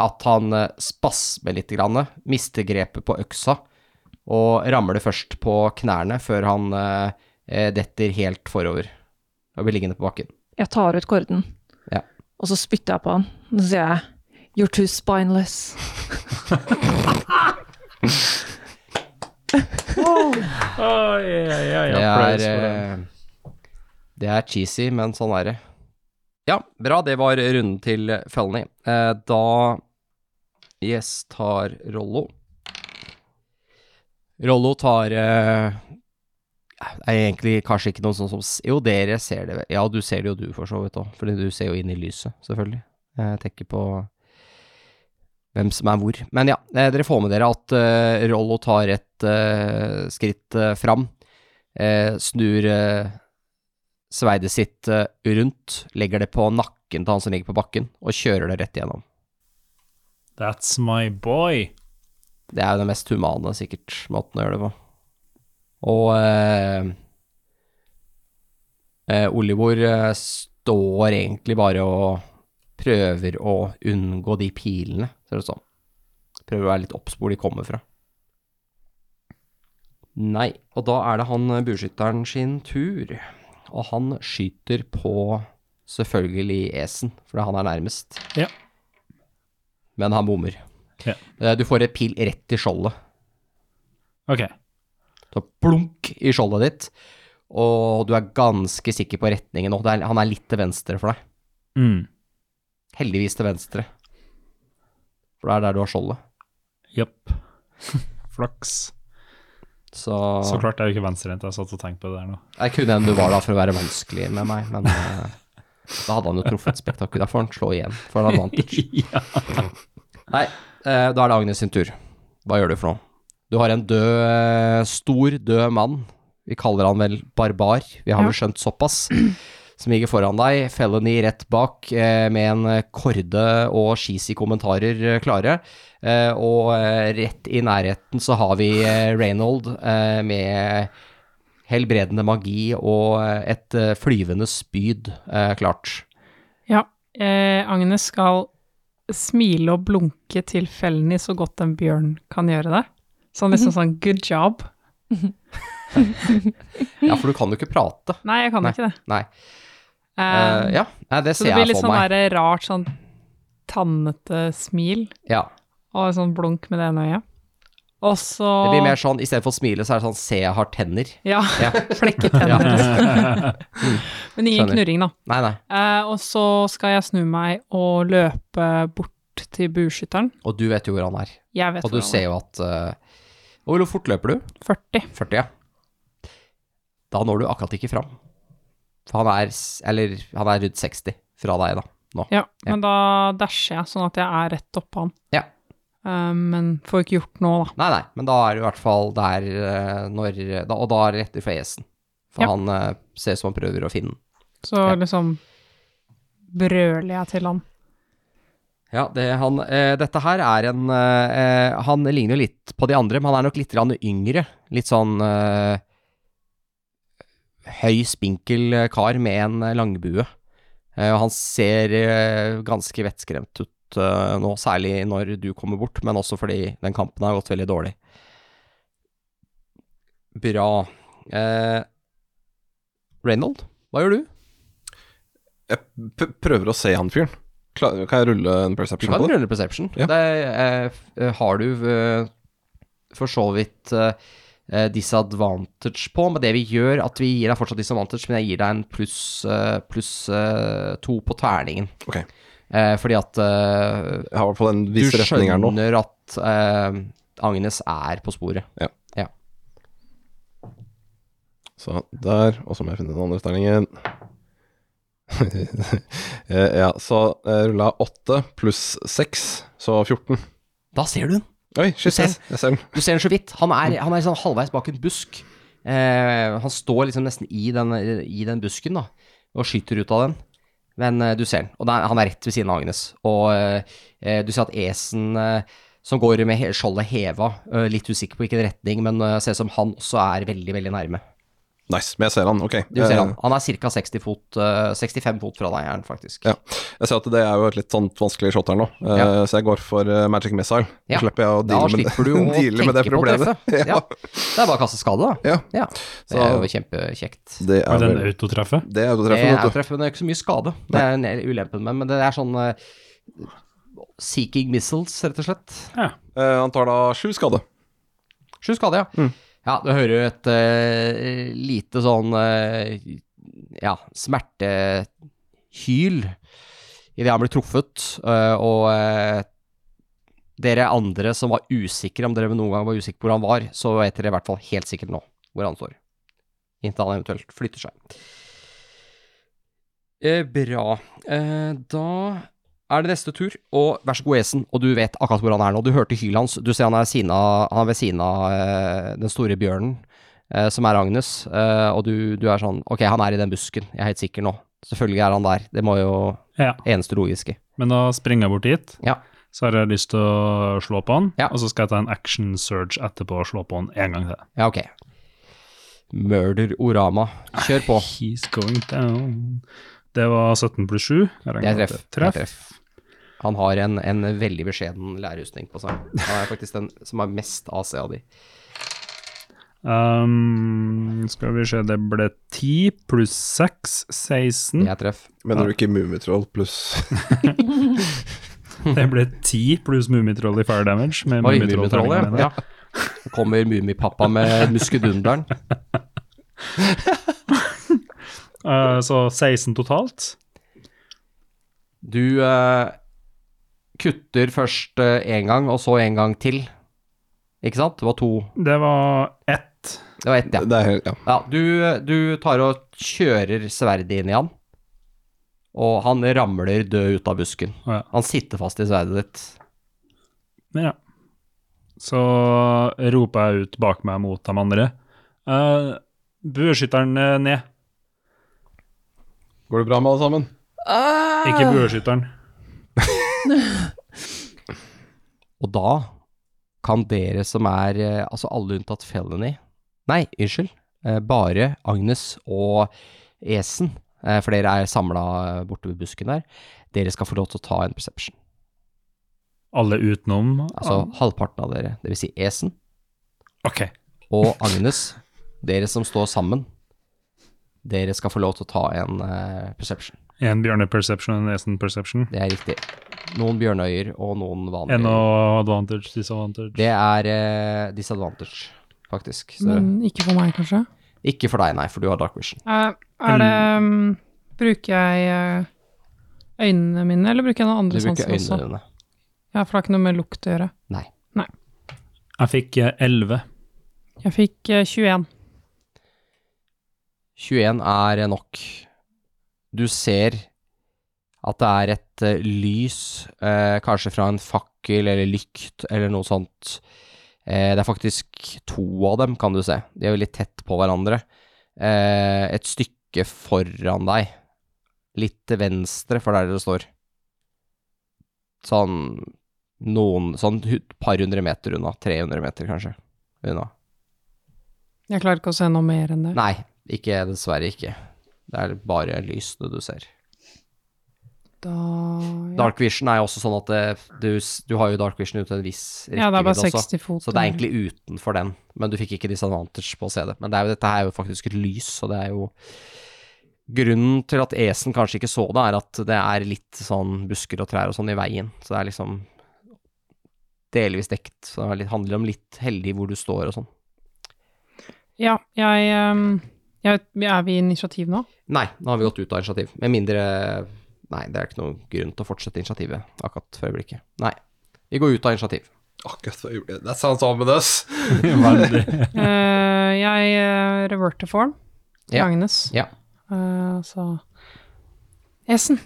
at han eh, spasmer litt, grann, mister grepet på øksa, og ramler først på knærne før han eh, eh, detter helt forover og blir liggende på bakken.
Jeg tar ut korden,
Ja.
og så spytter jeg på han. Og så sier jeg 'you're too spineless'.
Oi, ja, ja, ja, applaus
det,
for den.
er, eh, det er cheesy, men sånn er det. Ja, bra. Det var runden til Felny. Eh, Da Yes tar Rollo. Rollo tar eh, Det er egentlig kanskje ikke noen sånn som s- Jo, dere ser det vel. Ja, du ser det jo du, for så vidt òg. Fordi du ser jo inn i lyset, selvfølgelig. Eh, Jeg tenker på hvem som er hvor. Men ja, eh, dere får med dere at eh, Rollo tar et eh, skritt eh, fram eh, snur eh, sveidet sitt eh, rundt, legger det på nakken til han som ligger på bakken, og kjører det rett igjennom.
That's my boy.
Det er jo den mest humane, sikkert, måten å gjøre det på. Og eh, eh, Olivor eh, står egentlig bare og prøver å unngå de pilene, ser det ut som. Prøver å være litt obs hvor de kommer fra. Nei, og da er det han eh, bueskytteren sin tur. Og han skyter på selvfølgelig Esen, for han er nærmest.
Ja.
Men han bommer.
Ja.
Eh, Du får et pil rett i skjoldet.
Ok,
Så plunk i skjoldet ditt, og du er ganske sikker på retningen nå. Det er- Han er litt til venstre for deg.
mm.
Heldigvis til venstre. For det er der du har skjoldet.
Japp. Flaks.
Så,
Så klart jeg er jo ikke venstrehendt, jeg satt og tenkte på det der nå.
Jeg kunne en du var da for å være vanskelig med meg, men eh, da hadde han jo truffet spektakulært. Da får han slå igjen, for han har advantage.
ja.
Nei, Eh, da er det Agnes sin tur. Hva gjør du for noe? Du har en død, eh, stor død mann. Vi kaller han vel Barbar. Vi har
Ja.
vel skjønt såpass. Som ligger foran deg, felony rett bak, eh, med en eh, korde og cheesy kommentarer eh, klare. Eh, og eh, rett i nærheten så har vi eh, Reynold eh, med helbredende magi og eh, et eh, flyvende spyd eh, klart.
Ja, eh, Agnes skal smile og blunke til fellene så godt en bjørn kan gjøre det. Sånn liksom
Mhm.
sånn good job.
Ja, for du kan jo ikke prate.
Nei, jeg kan ikke det.
Nei.
Eh,
Eh, ja, Nei, det
så
ser
det blir
jeg
litt
for
sånn
meg.
der rart sånn tannete smil
Ja.
og sånn blunk med det ene øyet. Og så
Det blir mer sånn, istedenfor smile, så er det sånn se jeg har tenner.
Ja,
Ja.
flekke tenner. Men ingen
Skjønner.
knurring, da.
Nei, nei.
Eh, og så skal jeg snu meg og løpe bort til bueskytteren.
Og du vet jo hvor han er.
Jeg vet
Og du
hvor han
ser jo at eh, Hvor fort løper du?
er. 40.
40, ja. Da når du akkurat ikke fram. For han er s- Eller han er rundt 60 fra deg, da. Nå.
Ja, men da dasher jeg, sånn at jeg er rett oppå han.
Ja.
Eh, men får ikke gjort noe, da.
Nei, nei, men da er du i hvert fall der eh, når da, Og da er det rett for esen. For
Ja.
han eh, ser ut som han prøver å finne den.
Så
Ja.
liksom brøler jeg til han.
Ja, det, han, eh, dette her er en eh, eh, Han ligner jo litt på de andre, men han er nok litt grann yngre. Litt sånn eh, høy, spinkel eh, kar med en eh, langbue. Eh, og han ser eh, ganske vettskremt ut eh, nå, særlig når du kommer bort, men også fordi den kampen har gått veldig dårlig. Bra. Eh, Reynold, hva gjør du?
Jeg p prøver å se han fyren. Klar, kan jeg rulle en
Du
perception
kan
på det?
rulle perception.
Ja.
Det, eh, f- eh, har du eh, for så vidt eh, eh, disadvantage på, men det vi gjør, at vi gir deg fortsatt disadvantage, men jeg gir deg en pluss eh, pluss, eh, to på terningen.
Ok.
Eh, fordi at eh,
Jeg har i hvert fall en
du
viss retning her nå.
skjønner at eh, Agnes er på sporet.
Så der, og så må jeg finne den andre terningen. Eh, ja, så jeg rulla åtte pluss seks, så 14.
Da ser du den!
Oi, shit,
ser
jeg jeg ser den.
Du ser den så vidt. Han er, han er sånn halvveis bak en busk. Eh, han står liksom nesten i den, i den busken da, og skyter ut av den. Men eh, du ser den, og der, han er rett ved siden av Agnes. Og eh, du ser at Esen, eh, som går med he skjoldet heva, eh, litt usikker på hvilken retning, men eh, ser ut som han også er veldig, veldig nærme.
Nice, men jeg ser han, ok.
Du ser
Eh,
han. Han er ca. 60 fot, eh, 65 fot fra deg, er han faktisk.
Ja. Eh, Jeg ser at det er jo et litt sånt vanskelig shot her nå, eh,
Ja.
så jeg går for eh, magic missile.
Ja.
Så slipper jeg å
Da
deale med,
slipper du å
det- deale
tenke
med det
på å
problemet.
treffe. Ja. Det er bare å kaste skade, da.
Ja.
Ja. Det er jo kjempekjekt.
Det er
Var den
vel-
autotreffet?
det er
Det
autotreffen,
er
vet du.
treff, men det er ikke så mye skade. Det er en del ulempen med, men det er sånn eh, Seeking missiles, rett og slett.
Eh, han tar da sju skade.
Sju skade, ja. Ja, du hører jo et eh, lite sånn eh, ja, smertehyl idet han blir truffet, eh, og eh, dere andre som var usikre, om dere noen gang var usikre på hvor han var, så vet dere i hvert fall helt sikkert nå hvor han står. Inntil han eventuelt flytter seg. Eh, bra. Eh, da er det neste tur, og vær så god, Esen. Og du vet akkurat hvor han er nå. Du hørte hylet hans. Du ser han er, siden av- han er ved siden av eh, den store bjørnen, eh, som er Agnes. Eh, og du, du er sånn Ok, han er i den busken. Jeg er helt sikker nå. Selvfølgelig er han der. Det må jo
Ja.
Eneste logiske.
Men da springer jeg bort dit.
Ja.
Så har jeg lyst til å slå på han,
Ja.
og så skal jeg ta en action surge etterpå og slå på han en gang til.
Ja, ok. Murder Orama. Kjør på.
He's going down. Det var 17 pluss 7. Jeg regner
Det er
med
treff.
at
Det er treff. Han har en, en veldig beskjeden lærerrustning på seg. Han er faktisk den som har mest AC av de.
Um, skal vi se, det ble 10 pluss 6, 16.
Det er treff.
Mener du ikke Mummitroll pluss
Det ble 10 pluss Mummitroll i fire damage. Med
Oi,
Mummitroll
Mummitrollet. Ja. Kommer Mummipappa med muskedunderen.
Eh, så 16 totalt.
Du eh, kutter først én gang, og så én gang til. Ikke sant? Det var to.
Det var ett.
Det var ett, ja.
Det er helt, ja.
ja du, du tar og kjører sverdet inn i han, og han ramler død ut av busken.
Ja.
Han sitter fast i sverdet ditt.
Ja. Så roper jeg ut bak meg mot de andre. Uh, bueskytteren eh, ned.
Går det bra med alle sammen?
Ikke bueskytteren.
Og da kan dere som er eh, Altså alle unntatt Felony Nei, unnskyld. eh, Bare Agnes og Esen, eh, for dere er samla borte ved busken der. Dere skal få lov til å ta en perception.
Alle utenom
Altså halvparten av dere. Det vil si Esen
Ok.
og Agnes. dere som står sammen. Dere skal få lov til å ta en eh, perception.
En bjørneperception og en esen-perception.
Det er riktig. Noen bjørnøyer og noen vanlige.
En og advantage, disadvantage.
Det er eh, disadvantage, faktisk. Så,
Men ikke for meg, kanskje.
Ikke for deg, nei, for du har dark vision.
Eh, er det mm, Bruker jeg eh, øynene mine, eller bruker jeg noen
Du
andre
bruker
sanser
øynene
også?
dine.
Ja, for det har ikke noe med lukt å gjøre.
Nei.
Jeg fikk eh, 11.
Jeg fikk eh, 21.
21 er nok. Du ser at det er et eh, lys, eh, kanskje fra en fakkel eller lykt eller noe sånt. Eh, det er faktisk to av dem, kan du se. De er veldig tett på hverandre. Eh, et stykke foran deg. Litt til venstre for der dere står. Sånn noen Sånn et par hundre meter unna. 300 meter, kanskje. Unna.
Jeg klarer ikke å se noe mer enn det.
Nei, ikke, dessverre ikke. Det er bare lysene du ser.
Da, ja.
Dark vision er jo også sånn at det, du, s- du har jo dark vision ut til en viss
ja, det er
rekkevidde
bare Mm.
også.
60 fot.
Så det er egentlig utenfor den, men du fikk ikke disadvantage på å se det. Men det er jo, dette er jo faktisk et lys, og det er jo Grunnen til at esen kanskje ikke så det, er at det er litt sånn busker og trær og sånn i veien, så det er liksom delvis dekt. Så det er litt- handler om litt heldig hvor du står og sånn.
Ja, jeg, ehm, jeg vet- Er vi i initiativ nå?
Nei, nå har vi gått ut av initiativ. Med mindre Nei, det er ikke noen grunn til å fortsette initiativet akkurat for øyeblikket. Nei. Vi går ut av initiativ.
Akkurat for øyeblikket. That sounds ominous.
Veldig.
Eh, jeg eh, reverter form til
Ja.
Agnes.
Ja.
Eh, så Esen,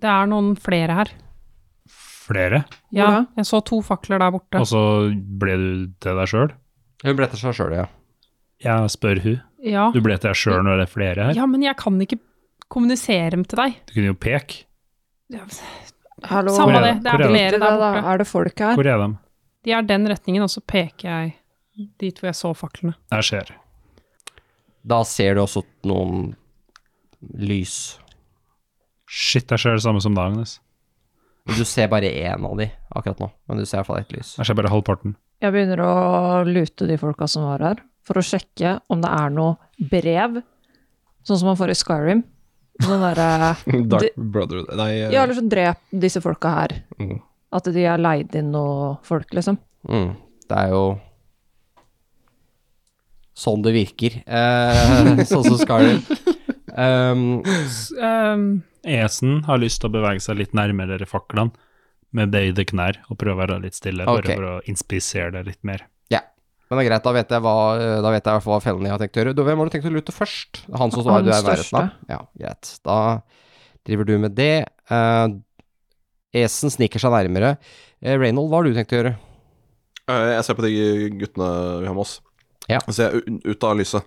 det er noen flere her.
Flere.
Ja,
Hvor da?
jeg så to fakler der borte.
Og så ble du til deg sjøl.
Hun bretter seg sjøl, ja.
Jeg spør hun.
Ja.
Du ble til deg sjøl når det er flere her.
ja, men jeg kan ikke kommunisere dem til deg.
Du kunne jo peke.
Ja,
Hallo.
Hvor
Samme
er
det, det
det? Hvor
er
er det?
flere der
da,
borte.
er det folk her?
Hvor er de?
De er den retningen, og så peker jeg dit hvor jeg så faklene.
Jeg ser.
Da ser du også noen lys.
Shit, jeg ser det samme som deg, Agnes.
Du ser bare én av de akkurat nå, men du ser iallfall ett lys.
Jeg ser bare halvparten.
Jeg begynner å lute de folka som var her, for å sjekke om det er noe brev, sånn som man får i Skyrim. Sånn derre
Dark
Det-
Brother Nei, eh,
Ja, eller så drep disse folka her.
Mhm.
At de har leid inn noe folk, liksom.
Mm. Det er jo sånn det virker. Eh, sånn som Skyrim. Um,
S- ehm,
Esen har lyst til å bevege seg litt nærmere faklene med bøyde knær og prøve å være litt stille, bare
Ok.
for å inspisere det litt mer.
ja. Men det er greit, da vet jeg hva eh, Da vet jeg i hvert fall hva fellen jeg har tenkt å gjøre. Du, hvem har du tenkt å lute først? Han som står
Han
du er i nærheten
største.
av? Ja, greit. Da driver du med det. Eh, Esen sniker seg nærmere. Uh, Reynold, hva har du tenkt å gjøre?
eh, Jeg ser på de guttene vi har med oss.
Ja.
Så ser jeg u- ut av lyset,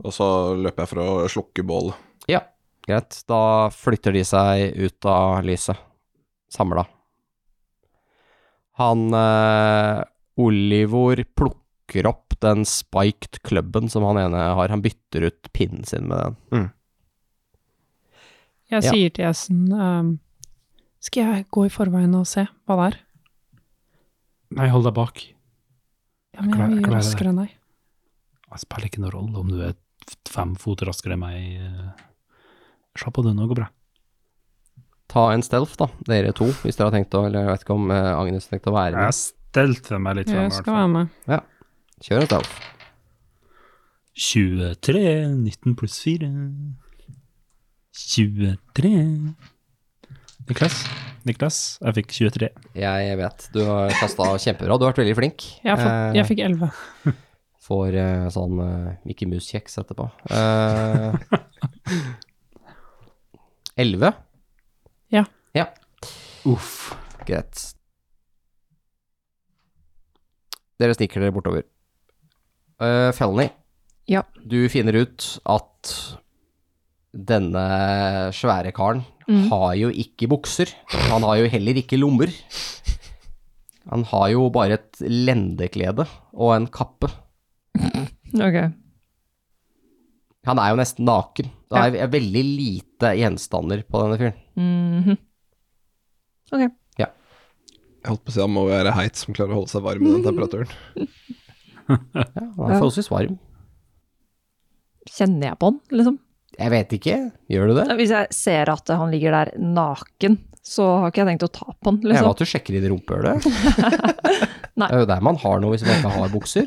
og så løper jeg for å slukke bålet.
Ja, greit. Da flytter de seg ut av lyset. Samla. Han eh, Olivor plukker opp den spiked klubben som han ene har. Han bytter ut pinnen sin med den.
jeg
Ja.
sier til Esen ehm, Skal jeg gå i forveien og se hva det er?
Nei, hold deg bak.
Ja, men
Klar-
jeg er
klarer det.
mye raskere enn deg.
Det spiller ikke noen rolle om du er f- fem fot raskere enn meg. eh. Se på det nå, går bra.
Ta en stealth, da, dere to, hvis dere har tenkt å Eller jeg vet ikke om eh, Agnes har tenkt å være
Jeg
med.
stelte meg litt frem,
Jeg
i hvert
skal være
fall.
med.
Kjør en stealth.
23, 19 pluss 4. 23. Niklas, Niklas, jeg fikk 23.
Jeg vet, du har kasta kjempebra. Du har vært veldig flink. Eh,
Jeg, har
Eh,
fått, jeg fikk 11.
Får eh, sånn eh, Mickey Mouse-kjeks etterpå. Eh, 11?
Ja.
Ja,
Uff.
greit. Dere sniker dere bortover. Uh, Felny,
Ja.
du finner ut at denne svære karen
Mm.
har jo ikke bukser. Han har jo heller ikke lommer. Han har jo bare et lendeklede og en kappe.
Ok.
Han er jo nesten naken. Det er veldig lite gjenstander på denne fyren.
Mhm. Ok.
Jeg holdt på å si han må være heit som klarer å holde seg varm i den temperaturen.
Ja, han er
Ja.
forholdsvis varm.
Kjenner jeg på han, liksom?
Jeg vet ikke, gjør du det?
Hvis jeg ser at han ligger der naken, så har ikke jeg tenkt å ta på han,
Jeg vet
liksom.
at du sjekker i det rumpehullet.
Nei.
Det er jo der man har noe hvis man ikke har bukser.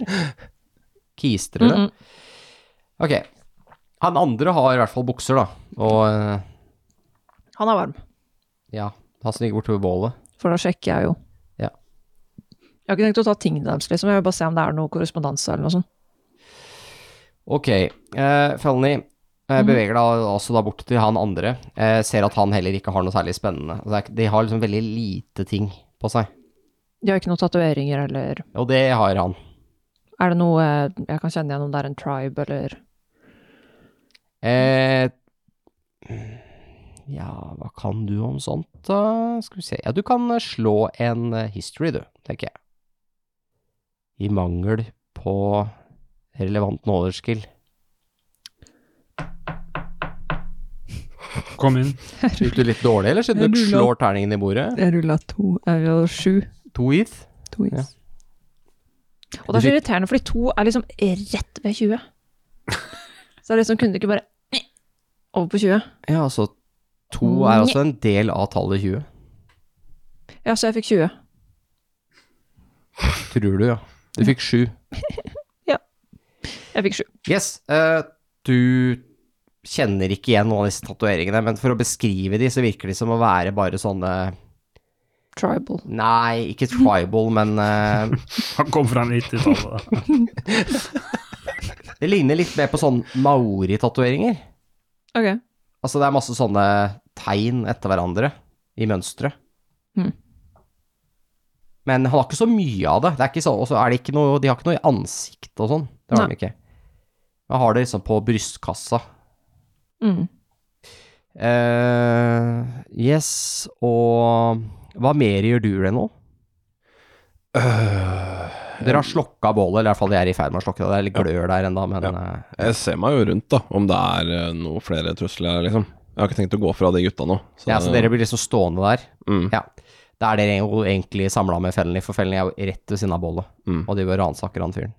Kister det.
Mm, mm.
Ok. Han andre har i hvert fall bukser, da. Og eh,
Han er varm,
ja, han sniker bort til bålet.
for da sjekker jeg jo.
Ja.
Jeg har ikke tenkt å ta tingene deres, liksom. Jeg vil bare se om det er noe korrespondanse eller noe sånt.
Ok, uh, Felny eh, beveger deg altså da bort til han andre. eh, ser at han heller ikke har noe særlig spennende. Altså, det er ikke- de har liksom veldig lite ting på seg.
De har ikke noen tatoveringer, eller
Og det har han.
er det noe eh, jeg kan kjenne igjen om det er en tribe, eller
Eh, ja, hva kan du om sånt, da? Skal vi se. Ja, du kan eh, slå en eh, history, du, tenker jeg. I mangel på relevant nådeskill.
Kom inn.
Skyter du litt dårlig, eller siden du
Jeg lurer.
slår terningen i bordet?
Jeg rulla to, jeg rulla sju.
To hit.
To is.
Ja.
Og det er så irriterende, fordi to er liksom rett ved 20. Så det er liksom, kunne du ikke bare over på 20?
Ja, altså, to er altså en del av tallet 20.
Ja, så jeg fikk 20.
Tror du, ja. Du fikk sju.
Jeg fikk 7.
Yes, eh, du kjenner ikke igjen noen av disse tatoveringene, men for å beskrive de, så virker de som å være bare sånne
Tribal.
Nei, ikke tribal, men eh,
Han kom fra 90-tallet.
det ligner litt mer på sånn maori-tatoveringer.
Ok.
Altså, det er masse sånne tegn etter hverandre i mønsteret.
Mhm.
Men han har ikke så mye av det. det er ikke så, og så er det ikke noe, de har ikke noe i ansiktet og sånn. Det har de ikke. Han har det liksom på brystkassa.
Mm.
Eh, yes, og hva mer gjør du det nå?
Eh,
Dere har slokka bålet, eller i hvert fall de er i ferd med å slokke det. Det er litt glør der ennå, men eh,
Jeg ser meg jo rundt, da, om det er eh, noe flere trusler her, liksom. Jeg har ikke tenkt å gå fra de gutta nå. så-
ja, så dere blir liksom stående der.
Mm.
Ja. Da er dere jo egentlig samla med Felny, for Felny er jo rett ved siden av bålet,
Mm.
og de bør ransake han fyren.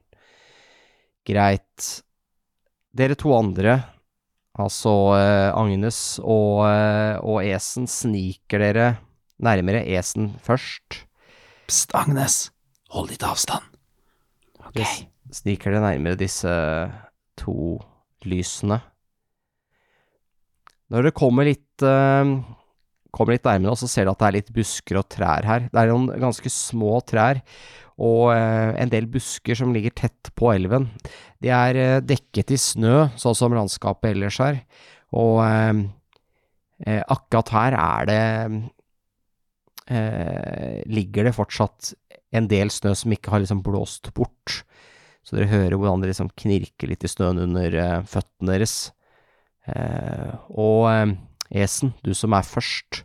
Greit. Dere to andre, altså eh, Agnes og, eh, og Esen, sniker dere nærmere Esen først.
Pst, Agnes, hold litt avstand.
Det s- sniker det nærmere disse to lysene. Når det kommer litt, eh, kommer litt nærmere, så ser du at det er litt busker og trær her. Det er noen ganske små trær og eh, en del busker som ligger tett på elven. De er eh, dekket i snø, sånn som landskapet ellers er. Og eh, eh, akkurat her er det eh, Ligger det fortsatt en del snø som ikke har liksom blåst bort. Så dere hører hvordan det liksom knirker litt i snøen under eh, føttene deres. Eh, og eh, Esen, du som er først,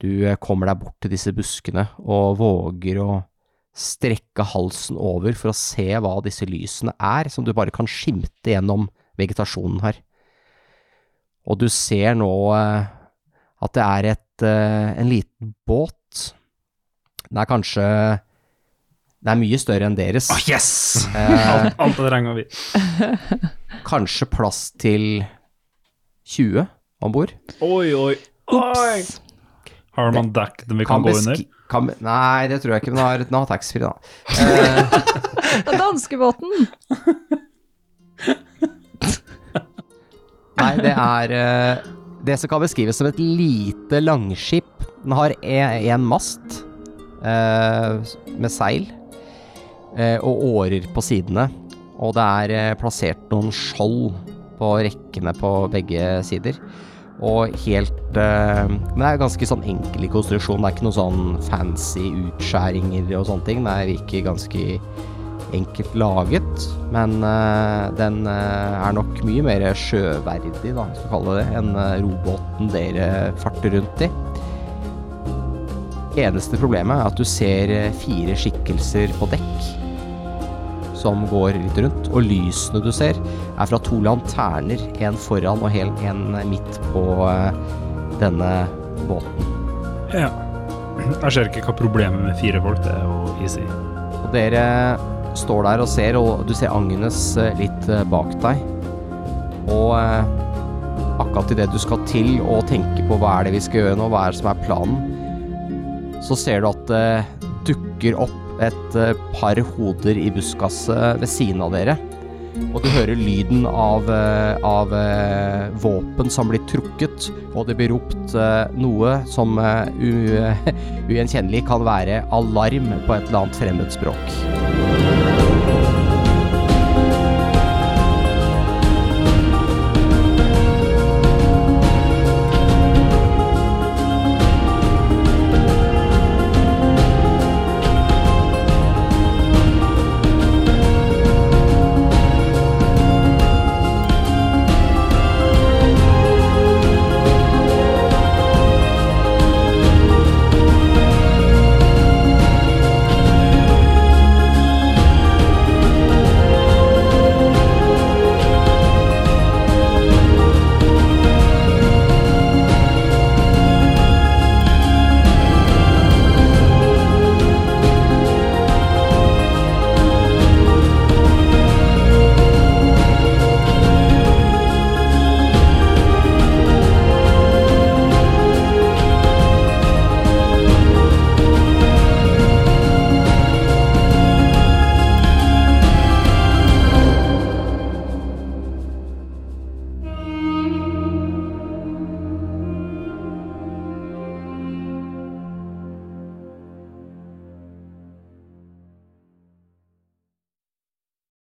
du eh, kommer deg bort til disse buskene og våger å strekke halsen over for å se hva disse lysene er, som du bare kan skimte gjennom vegetasjonen her. Og du ser nå eh, at det er et, eh, en liten båt. Den er kanskje Den er mye større enn deres.
Åh, yes!
Eh,
Alt, alt det regna vi.
kanskje plass til 20 om bord.
Oi, oi.
Ops.
Har man dekk den vi kan, gå under?
Kan, nei, det tror jeg ikke, men den har, den har taxfree, da. Eh,
Den danskebåten!
nei, det er eh, det som kan beskrives som et lite langskip. Den har én mast eh, med seil eh, og årer på sidene. Og det er eh, plassert noen skjold på rekkene på begge sider. Og helt eh, Men det er ganske sånn enkel i konstruksjon. Det er ikke noe sånn fancy utskjæringer og sånne ting. Det virker ganske enkelt laget, men eh, den eh, er nok mye mer sjøverdig, da, hvis du kaller det, enn eh, robåten dere farter rundt i. Eneste problemet er at du ser eh, fire skikkelser på dekk som går litt rundt, og lysene du ser er fra to lanterner, en foran og hel, en midt på eh, denne båten.
Ja. Jeg ser ikke hva problemet med fire folk det er å easy.
Og dere står der og ser, og du ser Agnes eh, litt eh, bak deg. Og eh, akkurat idet du skal til å tenke på hva er det vi skal gjøre nå, hva er det som er planen, så ser du at det dukker opp et eh, par hoder i buskaset ved siden av dere. Og du hører lyden av, eh, av eh, våpen som blir trukket, og det blir ropt eh, noe som eh, u, ugjenkjennelig kan være alarm på et eller annet fremmed språk.